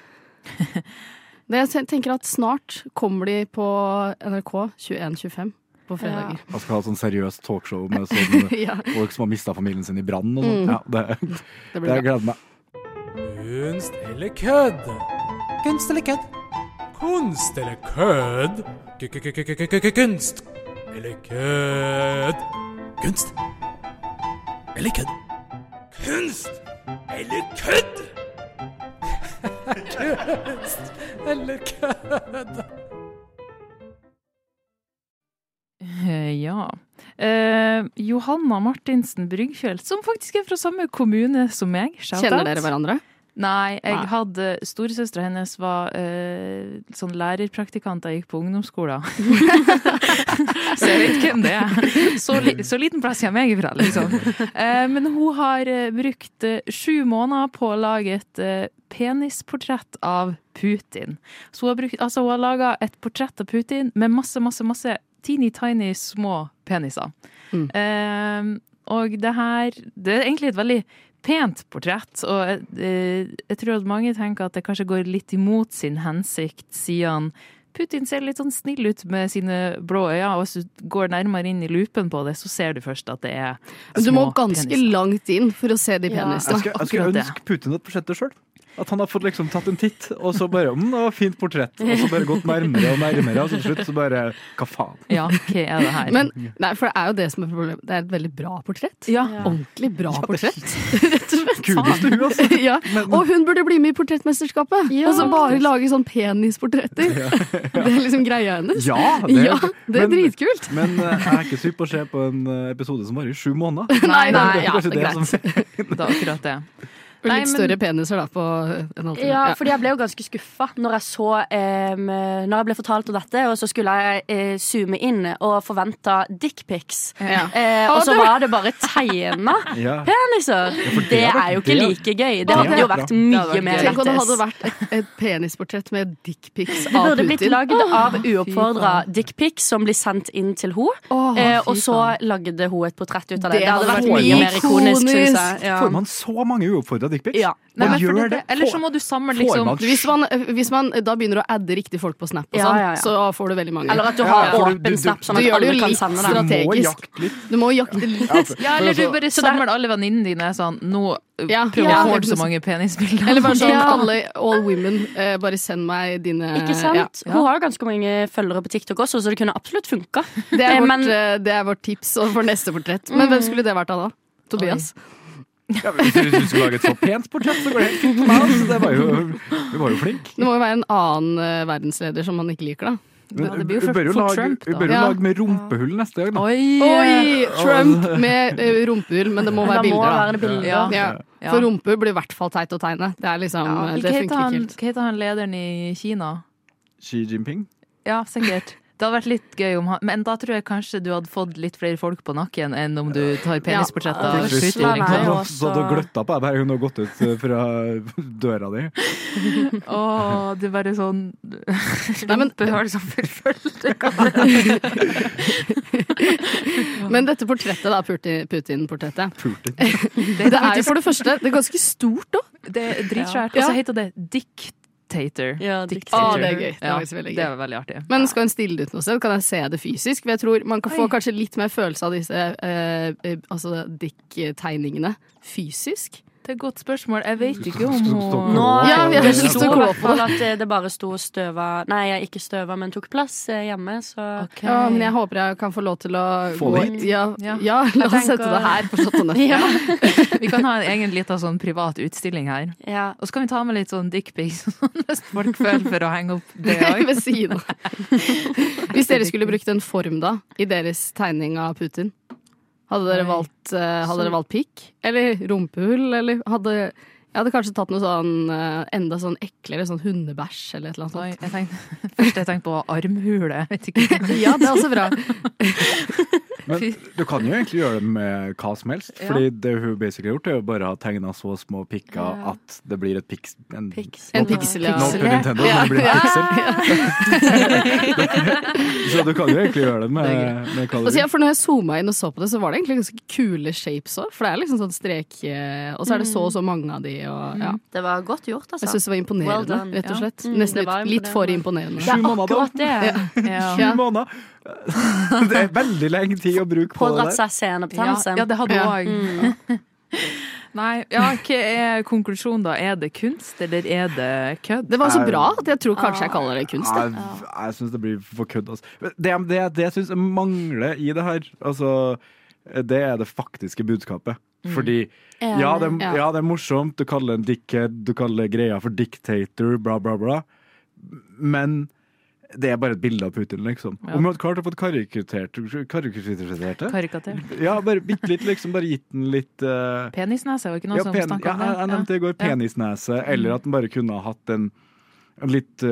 Det jeg ten- tenker at snart kommer de på NRK 21.25 på fredager.
Man skal ha et sånn seriøst talkshow med sånn
Ja,
folk som har mista familien sin i brann og sånn.
Mm.
Ja, det,
det
det
blir bra.
gleder meg.
Kunst eller kødd? Kunst eller kødd? Kunst eller kødd? K-k-k-k-k-kunst eller kødd. Kunst eller kødd. Kunst eller kødd! Kunst eller kødd.
Ja. Eh, Johanna Martinsen Bryggfjell, som faktisk er fra samme kommune som meg. Shout
Kjenner
out.
dere hverandre?
Nei, jeg
Nei.
hadde Storesøstera hennes var eh, sånn lærerpraktikant da jeg gikk på ungdomsskolen. så jeg vet hvem det er. Så, li, så liten plass kommer jeg ifra, liksom. Eh, men hun har eh, brukt eh, sju måneder på å lage et eh, penisportrett av Putin. Så hun har, brukt, altså, hun har laga et portrett av Putin med masse, masse, masse teeny tiny små peniser.
Mm.
Eh, og det her Det er egentlig et veldig pent portrett, og eh, jeg tror at mange tenker at det kanskje går litt imot sin hensikt, siden Putin ser litt sånn snill ut med sine blå øyne, og hvis du går nærmere inn i lupen på det, så ser du først at det er små
Du må ganske
peniser.
langt inn for å se de
Ja.
Jeg
penisene.
skulle, jeg skulle
akkurat det.
ønske Putin hadde sett det sjøl. At han har fått liksom tatt en titt, og så bare mm, det var et Fint portrett. Og så bare gått nærmere og nærmere, og så til slutt så bare Hva faen?
Ja, hva er det her?
Men, nei, for det er jo det som er problemet. Det er et veldig bra portrett.
ja.
Ordentlig bra portrett. Rett og slett.
Kudos til hun, altså.
ja.
Men-
Og hun burde bli med i Portrettmesterskapet!
Ja.
Og så bare lage sånn penisportretter. Det er liksom greia hennes.
Ja, det,
Ja, det er
men-
dritkult!
Men eh, jeg er ikke sur på å se på en eh, episode som varer i sju måneder.
Nei, nei,
Det er
ja,
kanskje
det er greit.
som-
Det er akkurat det.
Og
Nei,
litt
men-
større peniser, da, på en halvtime.
Ja, fordi jeg ble jo ganske skuffa når jeg så em, Når jeg ble fortalt om dette, og så skulle jeg eh, zoome inn og forventa dickpics.
Ja.
Eh, og så var det bare tegna
Ja.
peniser!
for det
Det
hadde vært-
er jo ikke
det-
like gøy.
det
Det
hadde
hadde jo
vært
vært
bra.
mye mer
Tenk om det hadde
lættis.
vært et, et penisportrett med dickpics
Det
av
burde blitt
Putin.
lagd av uoppfordra
faen.
dickpics som blir sendt inn til henne.
Åh,
Eh, og
fy
så
faen.
lagde hun et portrett ut av
Det
det. Det hadde vært
hadde vært
mye mer ikonisk,
ikonisk.
syns jeg. Ja.
Får man så mange uoppfordra dickpics?
Ja.
Nei,
Man
men for
gjør
det-
det.
Eller
Får-
så må du samle
får
liksom
man-
Hvis man, hvis man da begynner å adde riktig folk på Snap, og
Ja,
sånn,
ja, ja.
så får du veldig mange.
Eller at du
Ja,
har
for du- du-
åpen
du-
snap, sånn
du
at
gjør det jo
alle kan
litt
sende
Du
den.
strat-
må
strategisk.
jakte litt.
du må jakte litt.
Ja, for-
Ja,
for
eller
altså-
du bare
Så det-
samler alle venninnene dine sånn Nå øh,
Ja,
prøver å
ja, det
få
er
så
sånn-
mange penisbilder.
Eller bare sånn
Ja.
alle all women, eh, bare send meg dine
Ikke sant?
Ja.
Hun har jo ganske mange følgere på TikTok også, så det kunne absolutt funka.
Det, er
Eh,
vårt,
men-
eh, det er vårt tips for neste portrett. Men hvem skulle det vært av da? Tobias.
Ja, men hvis du- hvis du skulle lage et så pent portrett, så går det helt fint for meg. altså. Det var jo, du var jo flink.
Det må jo være en annen eh, verdensleder som han ikke liker, da.
Men
Ja, det blir jo
vi bør jo
for- for
lage,
Trump,
vi
da.
bør jo
Ja.
lage med rumpehull neste gang. Da.
Oi!
Oi! Trump
Ja.
med eh, rumpehull, men det må
Men da
være
må
bilder, da.
være det bilder.
Ja.
Ja.
Ja.
For rumpehull blir i hvert fall teit å tegne. Det, er liksom,
Ja,
eh,
hva
det
heter
funker ikke
han,
helt.
hva heter han lederen i Kina?
Xi Jinping.
Ja, sikkert. Det hadde vært litt gøy om han Men da tror jeg kanskje du hadde fått litt flere folk på nakken enn om du tar penisportrett av
Ja.
Putin.
Nei,
Så-
sånn.
Liksom.
så-
også-
Så du gløtta på deg hver gang du har gått ut eh, fra døra di.
Å, det er bare sånn
Nei, men-
Rumpehull som forfølger
Men dette portrettet, da, Putin- Putin-portrettet
Putin.
Det
Det er jo
faktisk-
for det første det er ganske stort òg.
det er dritsvært. Og
Ja.
så heter det Dictator.
Ja,
Å,
Dictator.
det er gøy. Det er
Ja,
faktisk veldig gøy.
det er veldig artig.
Men skal en stille det ut noe sted? Kan jeg se det fysisk? For jeg tror Man kan få
Oi.
kanskje litt mer følelse av disse eh, eh, altså dick-tegningene fysisk.
Det er et godt spørsmål. Jeg vet ikke
Skal-
om
skal- skal- skal-
hun
Nå
Ja, vi har
det
lyst til å
sto i
gå
hvert
på
fall at eh, det bare sto og støva Nei, jeg ikke støva, men tok plass eh, hjemme, så
Ok.
Ja, men jeg håper jeg kan få lov til å
Få
gå
det
hit. Ja,
Ja.
ja. la oss
tenker-
sette det her på Chateau Neuf.
Ja.
Vi kan ha en egen liten sånn privat utstilling her.
ja.
Og så kan vi ta med litt sånn dickpics, hvis folk føler for å henge opp det òg.
Ved siden av. Hvis dere skulle brukt en form, da, i deres tegning av Putin, hadde dere
Oi.
valgt, eh, hadde
Sånn.
dere valgt pikk? Eller rumpehull? Eller hadde Jeg hadde kanskje tatt noe sånn eh, enda sånn eklere, sånn hundebæsj eller et eller annet sånt.
Oi, jeg tenkte, først jeg tenkte på armhule. Jeg vet ikke.
Ja, det er også bra.
Men du kan jo egentlig gjøre det med hva som helst. Fordi det hun basically har gjort, er jo bare å ha tegna så små pikker
Ja.
at det blir et piks... En,
Pixel.
En piksel, ja.
Nå på Nintendo, men det blir en piksel. så du kan jo egentlig gjøre det med,
Det er
med hva du
Altså, ja,
vil.
for når jeg zooma inn og så på det, så var det egentlig ganske kule shapes òg. For det er liksom sånn strek eh, Og så er det så og så mange av de, og ja.
Det var godt gjort, altså.
Jeg syns det var
Mm. Well
imponerende,
done,
rett og
ja.
slett.
Mm,
Nesten
det var
litt, litt for
Ja.
imponerende.
Sju måneder, da.
Akkurat det.
Sju
Ja.
måneder! Det er veldig lenge tid å bruke på det
Pådratt
der.
seg
Ja,
senebetennelse.
ja, det hadde hun
Ja.
òg. Nei, ja, hva er konklusjonen da? Er det kunst, eller er det kødd?
Det var så bra at jeg tror
Ah.
kanskje jeg kaller det kunst.
Jeg, jeg syns det blir for kødd. Altså. Men Det, det, det jeg syns mangler i det her, altså, det er det faktiske budskapet.
Mm.
Fordi
Enig,
ja det,
ja.
ja, det er morsomt, du kaller det en dickhead, du kaller greia for dictator, bla, bla, bla. Men det er bare et bilde av Putin, liksom.
Ja.
Om vi hadde klart å få karikatert karikatert det?
Karikatur.
Ja, bare bitte litt, liksom. Bare gitt den litt eh,
Penisnese var ikke noe
ja,
som
pen-
snakket
ja,
om det.
jeg, jeg nevnte det i går.
sånn Ja.
Penisnese. Eller at den bare kunne ha hatt en, en litt eh,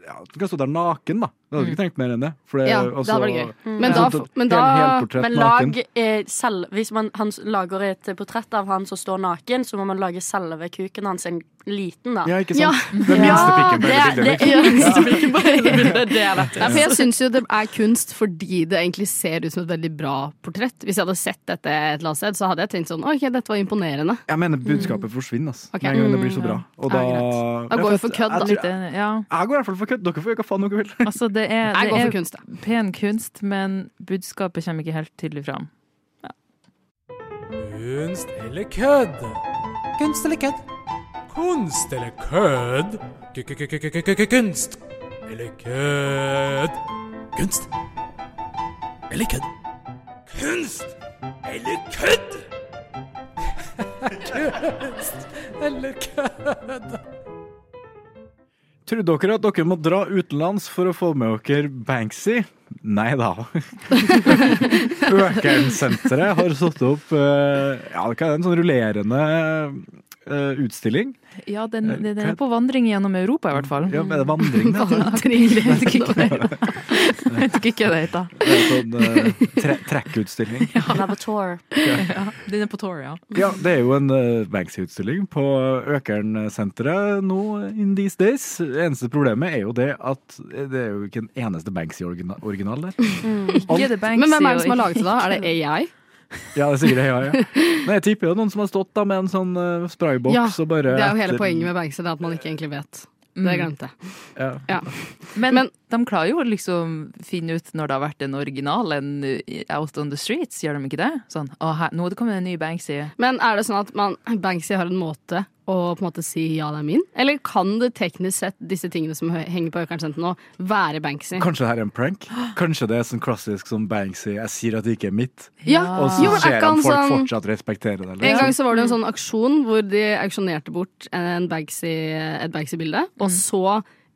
ja, Den kan stå der naken, da. Du hadde ikke trengt mer enn det. altså- For
Ja, det hadde vært gøy. Mm. Men da-
sånt-
Men
hel-
da
helportrett
men
naken.
lag eh, selv, Hvis man, han s- lager et portrett av han som står naken, så må man lage selve kuken hans en liten, da.
Ja, ikke sant? Den
Ja,
minste pikken på
det,
hele
det
bildet.
er
liksom.
minste pikken på hele bildet. Det er
Nei, for jeg
lettest.
syns jo det er kunst fordi det egentlig ser ut som et veldig bra portrett. Hvis jeg hadde sett dette et eller annet sted, så hadde jeg tenkt sånn OK, dette var imponerende.
Jeg mener budskapet forsvinner, altså. ass.
Ok.
Med en gang det blir så
Mm,
bra.
ja.
Og
Ja,
da,
greit. Da
Ja,
går vi for kødd, da.
Jeg,
Litt,
tror- jeg,
ja.
går i hvert fall for kødd. Dere får gjøre hva faen dere vil.
Altså, det er,
Jeg
det
går for
er
kunst, jeg.
pen kunst, men budskapet kommer ikke helt tydelig fram.
Kunst eller kødd? Kunst eller kødd? Kunst eller kødd? K-k-k-k-k-kunst eller kødd? Kunst eller kødd? Kunst eller kødd? Kunst eller kødd?
Trodde dere at dere må dra utenlands for å få med dere Banksy? Nei da. Økernsenteret har satt opp eh, ja, hva er det, en sånn rullerende eh, utstilling.
Ja, den, den, den er på vandring gjennom Europa, i hvert fall.
Eh, Ja, er det vandring, det?
Vandring, jeg vet ikke hva det heter.
Det er en sånn eh, tre trekkutstilling.
Lavator.
Ja, den er på tour, ja.
Ja, det er jo en eh, Banksy-utstilling på Økernsenteret nå in these days. Eneste problemet er jo det at eh, det er jo ikke en eneste Banksy-original der.
Ikke The Banksy,
Men hvem er det som har
og
laget det, da? Er det AI?
Ja, det er sikkert jeg, ja, ja. Nei, jeg tipper jo noen som har stått da med en sånn eh, sprayboks
Ja,
og bare
Det er jo
etter- Mm.
hele poenget med Banksy, det er at man ikke egentlig vet. Det glemte jeg.
Ja.
Ja.
Mm. Men, de klarer jo å liksom finne ut når det har vært en original enn Out on the Streets, gjør de ikke det? Sånn, å, her, nå er det kommet en ny Banksy.
Men er det sånn at man, Banksy har en måte å på en måte si ja, det er min? Eller kan det teknisk sett, disse tingene som hø- henger på Økernsenteret nå, være Banksy?
Kanskje det her er en prank? Kanskje det er sånn klassisk som Banksy, jeg sier at det ikke er mitt,
Ja.
og så
Ah. Jo, men er
ser
ikke
han
han
folk
sånn-
fortsatt respektere det.
En
liksom.
gang så var det en sånn aksjon hvor de auksjonerte bort en Banksy, et Banksy-bilde, og så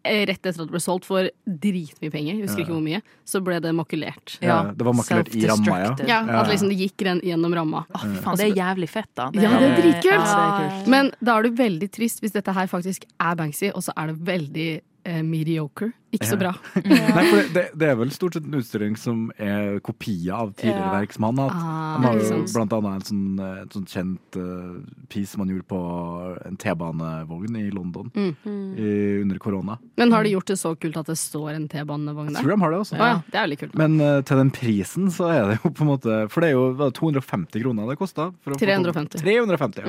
eh, Rett etter at det ble solgt for dritmye penger, jeg husker
Ja.
ikke hvor mye, så ble det makulert.
Ja, det var makulert i ramma, ja.
Self-destructed.
Ja, At liksom det gikk ren- gjennom ramma.
Fy faen, det er jævlig fett, da.
Ja, det er dritkult!
Ja, det er kult.
Men da er det veldig trist hvis dette her faktisk er Banksy, og så er det veldig eh, mediocre. Ikke så
Ja.
bra.
Nei, for det, det, det er vel stort sett en utstilling som er kopier av tidligere
Ja.
verk som han har hatt.
Ah,
Han har
ikke
jo
sant.
blant annet en sånn, eh, et sånt kjent eh, piece man gjorde på en T-banevogn i London
Mm.
i, under korona.
Men har de gjort det så kult at det står en T-banevogn
Jeg
der?
tror de har det også.
Å ja, Mm. det er veldig kult.
Men eh, til den prisen så er det jo på en måte For det er jo hva, 250 kroner det kosta.
350.
350 ja.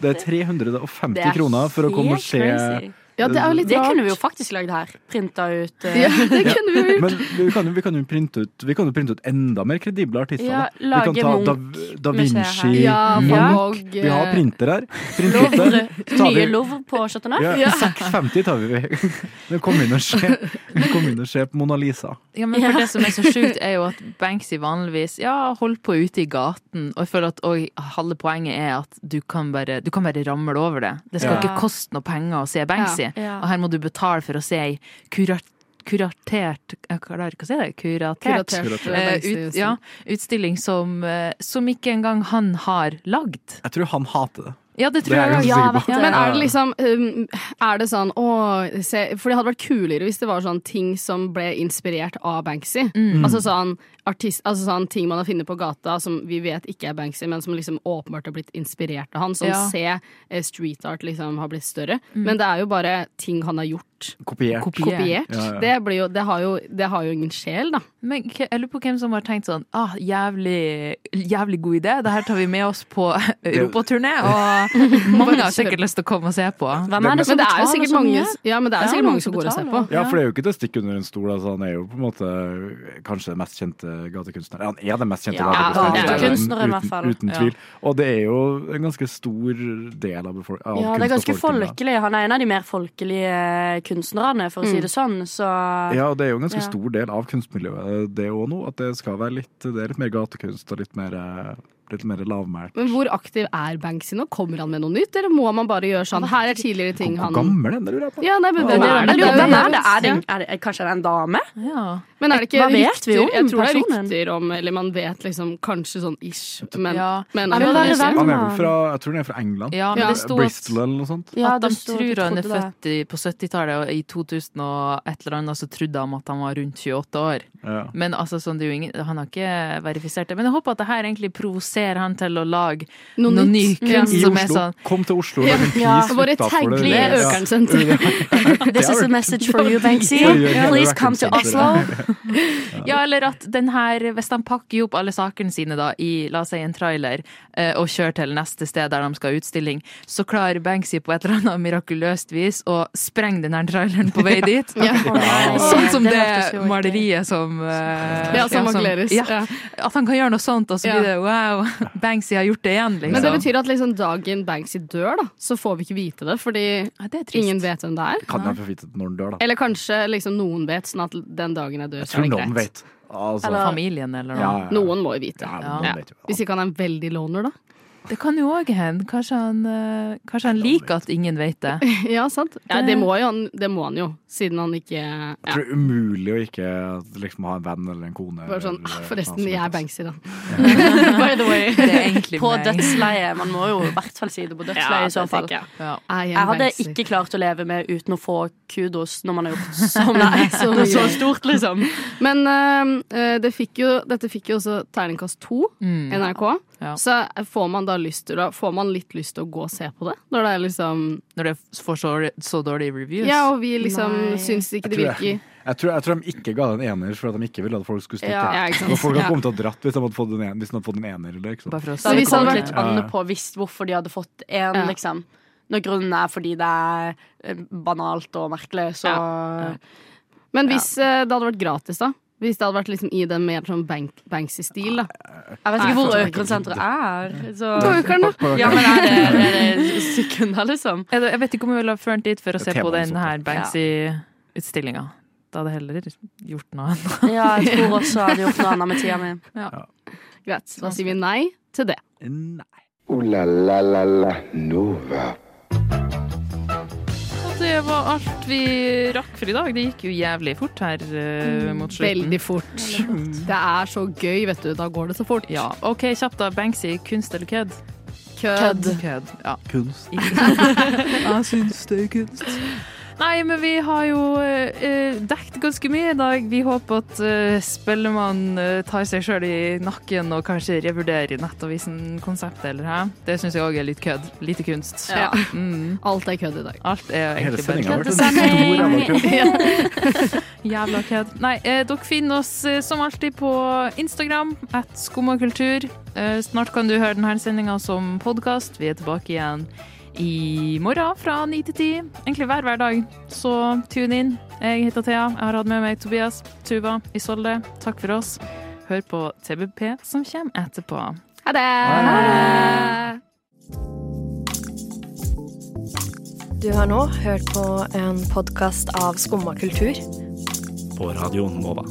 Det er 350
Mm. Det er
kroner for å komme og
helt
se
crazy.
Ja, det er jo litt
Det kunne
rart.
vi jo faktisk lagd her. Printa ut eh,
Ja, det kunne vi
Men vi kan, jo- vi kan jo printe ut Vi kan jo printe ut enda mer kredible artister.
Ja,
da. Vi
lage
kan ta da, da
Munch-museet her.
Vinci,
Ja, Van
Munch.
Gogh.
Vi har printer her. Print ut
Louvre.
det. Så tar
Nye
vi-
Louvre på Chateau Neuf.
Ja, 650 tar vi. Men Kom inn og se, kom inn og se på Mona Lisa.
Ja, men for det som er så sjukt, er jo at Banksy vanligvis ja, holder på ute i gaten. Og jeg føler at og halve poenget er at du kan bare, du kan bare ramle over det. Det skal
Ja.
ikke koste noe penger å se Banksy.
Ja.
Og her må du betale for å se ei kurat, kuratert Jeg klarer ikke å si det. Kuratert.
Kuratert
eh,
Banksy.
ut, ja, utstilling som, eh, som ikke engang han har lagd.
Jeg tror han hater det.
Ja, det
Det
tror
er jeg
jeg.
ganske
Ja,
sikker på.
vet du.
Men er det liksom um, Er det sånn å se For det hadde vært kulere hvis det var sånn ting som ble inspirert av Banksy.
Mm.
Altså sånn artist Altså sånn ting man har funnet på gata som vi vet ikke er Banksy, men som liksom åpenbart har blitt inspirert av han. Sånn
Ja. Mm.
se eh, street art liksom har blitt større. Men det er jo bare ting han har gjort.
Kopiert.
Kopiert.
Kopiert.
Ja, ja.
Det, blir jo, det, har jo, det har jo ingen sjel, da.
Men k- jeg lurer på hvem som har tenkt sånn ah, jævlig, jævlig god idé, det her tar vi med oss på europaturné og mange har sikkert lyst til å komme og se på.
Hvem er det som
men det er jo
betaler
sikkert
så
mange,
mye?
ja, men det er
Ja,
sikkert
mange
mange som
som
går og ser på.
betaler. Ja, for det er jo ikke til å stikke under en stol. Altså, han er jo på en måte eh, kanskje den mest kjente gatekunstneren. Han er den mest kjente
Ja, gatekunstneren, i
gatekunstneren,
hvert fall.
uten, uten
Ja.
tvil. Og det er jo en ganske stor del av, befolk av
Ja, det er ganske
kunstnerfolket, da.
folkelig. Han er en av de mer folkelige kunstnerne, for å si det sånn. Så
Ja, og det er jo en
Ja.
ganske stor del av kunstmiljøet det òg nå, at det skal være litt, det er litt mer gatekunst og litt mer, eh, litt mer lavmælt.
Men hvor aktiv er Banksy nå? Kommer han med noe nytt, eller må man bare gjøre sånn? Her er tidligere ting
Hvor
han
gammel er den, lurer jeg på?
Ja, nei, men
Hvem er
det-
det?
det- det-
Hvem er det? Er det,
Ja.
er det, kanskje er det en dame?
Men er det ikke
Hva vet vi
rykter?
om
Jeg tror det er
personen?
rykter om Eller man vet liksom kanskje sånn ish, men,
Ja.
men
Nei, men
Ja,
hva er det
det-
Han er vel fra, jeg tror han er fra England.
Ja, men det sto at-
Bristol eller noe sånt.
Ja, at de
det sto- jeg
tror han er
trodde det.
født i, på 70-tallet, og i 2000 og et eller annet så trodde de at han var rundt 28 år.
Ja.
Men altså, sånn, det er jo ingen, han har ikke verifisert det. Men jeg håper at det her egentlig provoserer han til å lage
Noe
noe, ny
nytt. Ja.
kunst
I
som er
Oslo.
sånn
Kom til Oslo, lag en
Ja.
piece
Bare
utenfor det.
tagg i
Ja.
Økern
senter. This is a
Derek.
message for you, Banksy.
Ja, ja, ja,
Please
Derek
come to
Hansen.
Oslo.
Ja, eller at den her, hvis de pakker opp alle sakene sine da, i la oss si en trailer, eh, og kjører til neste sted der de skal ha utstilling, så klarer Banksy på et eller annet mirakuløst vis å sprenge den her traileren på vei dit.
Ja. Ah. Ja.
Sånn som
Det
det,
hørtes jo ikke-
maleriet som eh,
Ja, som Magleris,
Ja,
ja.
at han kan gjøre noe sånt, og så
Ja.
blir det wow, Banksy har gjort det igjen, liksom.
Men det betyr at liksom dagen Banksy dør, da, så får vi ikke vite det, fordi ingen vet hvem det er.
Kan jeg få vite det når den dør, da?
Eller kanskje liksom noen vet, sånn at den dagen jeg dør,
Jeg
så
tror
er det
noen
greit.
vet. Altså,
Eller familien, eller noe.
Ja, ja, ja.
Noen må jo vite.
Ja, noen vet jo.
Hvis ikke han er en veldig loner, da.
Det kan jo òg hende. Kanskje han, eh, kanskje han liker at ingen vet det.
Ja, sant? Ja, det, må jo, han- det må han jo, siden han ikke ja.
Jeg tror det er umulig å ikke liksom, ha en venn eller en kone.
Bare sånn,
eller-
ah, forresten,
Ja,
jeg er Banksy, da.
By the way.
Det er egentlig
på
meg.
dødsleiet. Man må jo i hvert fall si det på dødsleiet
Ja,
i så
det
fall.
tenker jeg. Ja. Er jeg
Jeg hadde
Banksy?
ikke klart å leve med uten å få kudos når man har gjort sånn. Nei, så,
mye.
så stort, liksom.
Men øhm, øh, det fikk jo, dette fikk jo også terningkast to,
Mm.
NRK.
Ja.
Så eh, får man da lyst til å, får man litt lyst til å gå og se på det? Når det er liksom
Når det får så, så dårlige reviews.
Ja, og vi liksom syns
Jeg
ikke det
tror
virker.
Jeg, jeg, tror, jeg tror de ikke ga den ener for at de ikke ville at folk skulle stikke.
Ja, ja, ikke sant.
Og folk hadde
Ja.
kommet til å dratt hvis de hadde fått en ener. Hvis de hadde fått en ener eller, ikke sant?
Da hadde det kommet litt
Ja,
an
ja.
på visst hvorfor de hadde fått én,
Ja.
liksom. Når grunnen er fordi det er eh, banalt og merkelig, så
Men hvis øh, det hadde vært gratis, da? Hvis det hadde vært liksom i den mer sånn bank, Banksy-stil, da?
Jeg vet ikke hvor Økrensenteret er. Så.
På Økern, da.
Ja, men er det, er det sekunder, liksom?
Jeg, jeg vet ikke om jeg ville ha ført dit for å
Det
se
er
på
temaet
den
som
her
sånt.
Banksy-utstillinga. Da hadde jeg heller gjort noe annet.
Ja, jeg tror også jeg hadde gjort noe annet med tida mi.
Greit. Da sier vi nei til det.
Ooh la la la la Nova.
Og det var alt vi rakk for i dag. Det gikk jo jævlig fort her eh, mot slutten.
Veldig fort. Det er så gøy, vet du. Da går det så fort.
Ja. OK, kjapt da. Banksy, kunst eller kødd? Eh,
Kødd.
kødd. Ja.
Kunst.
Jeg syns det er kunst. Nei, men vi har jo uh, dekt ganske mye i dag. Vi håper at uh, Spellemann eh, tar seg sjøl i nakken og kanskje revurderer Nettavisen-konseptet, eller hæ? Det syns jeg òg er litt kødd. Lite kunst.
Ja.
Mm.
Alt er kødd i dag.
Alt er
Hele
egentlig bare
sendingen har vært en
Køddesending.
stor ræva kødd.
Ja. Jævla kødd. Nei, eh, dere finner oss eh, som alltid på Instagram, at skummakultur. Eh, snart kan du høre denne sendinga som podkast. Vi er tilbake igjen i morgen fra ni til ti. Egentlig hver hverdag. Så tune inn. Jeg heter Thea. Jeg har hatt med meg Tobias, Tuva, Isolde. Takk for oss. Hør på TBP som kommer etterpå.
Ha det!
Du har nå hørt på en podkast av Skumma kultur.
På radioen Nova.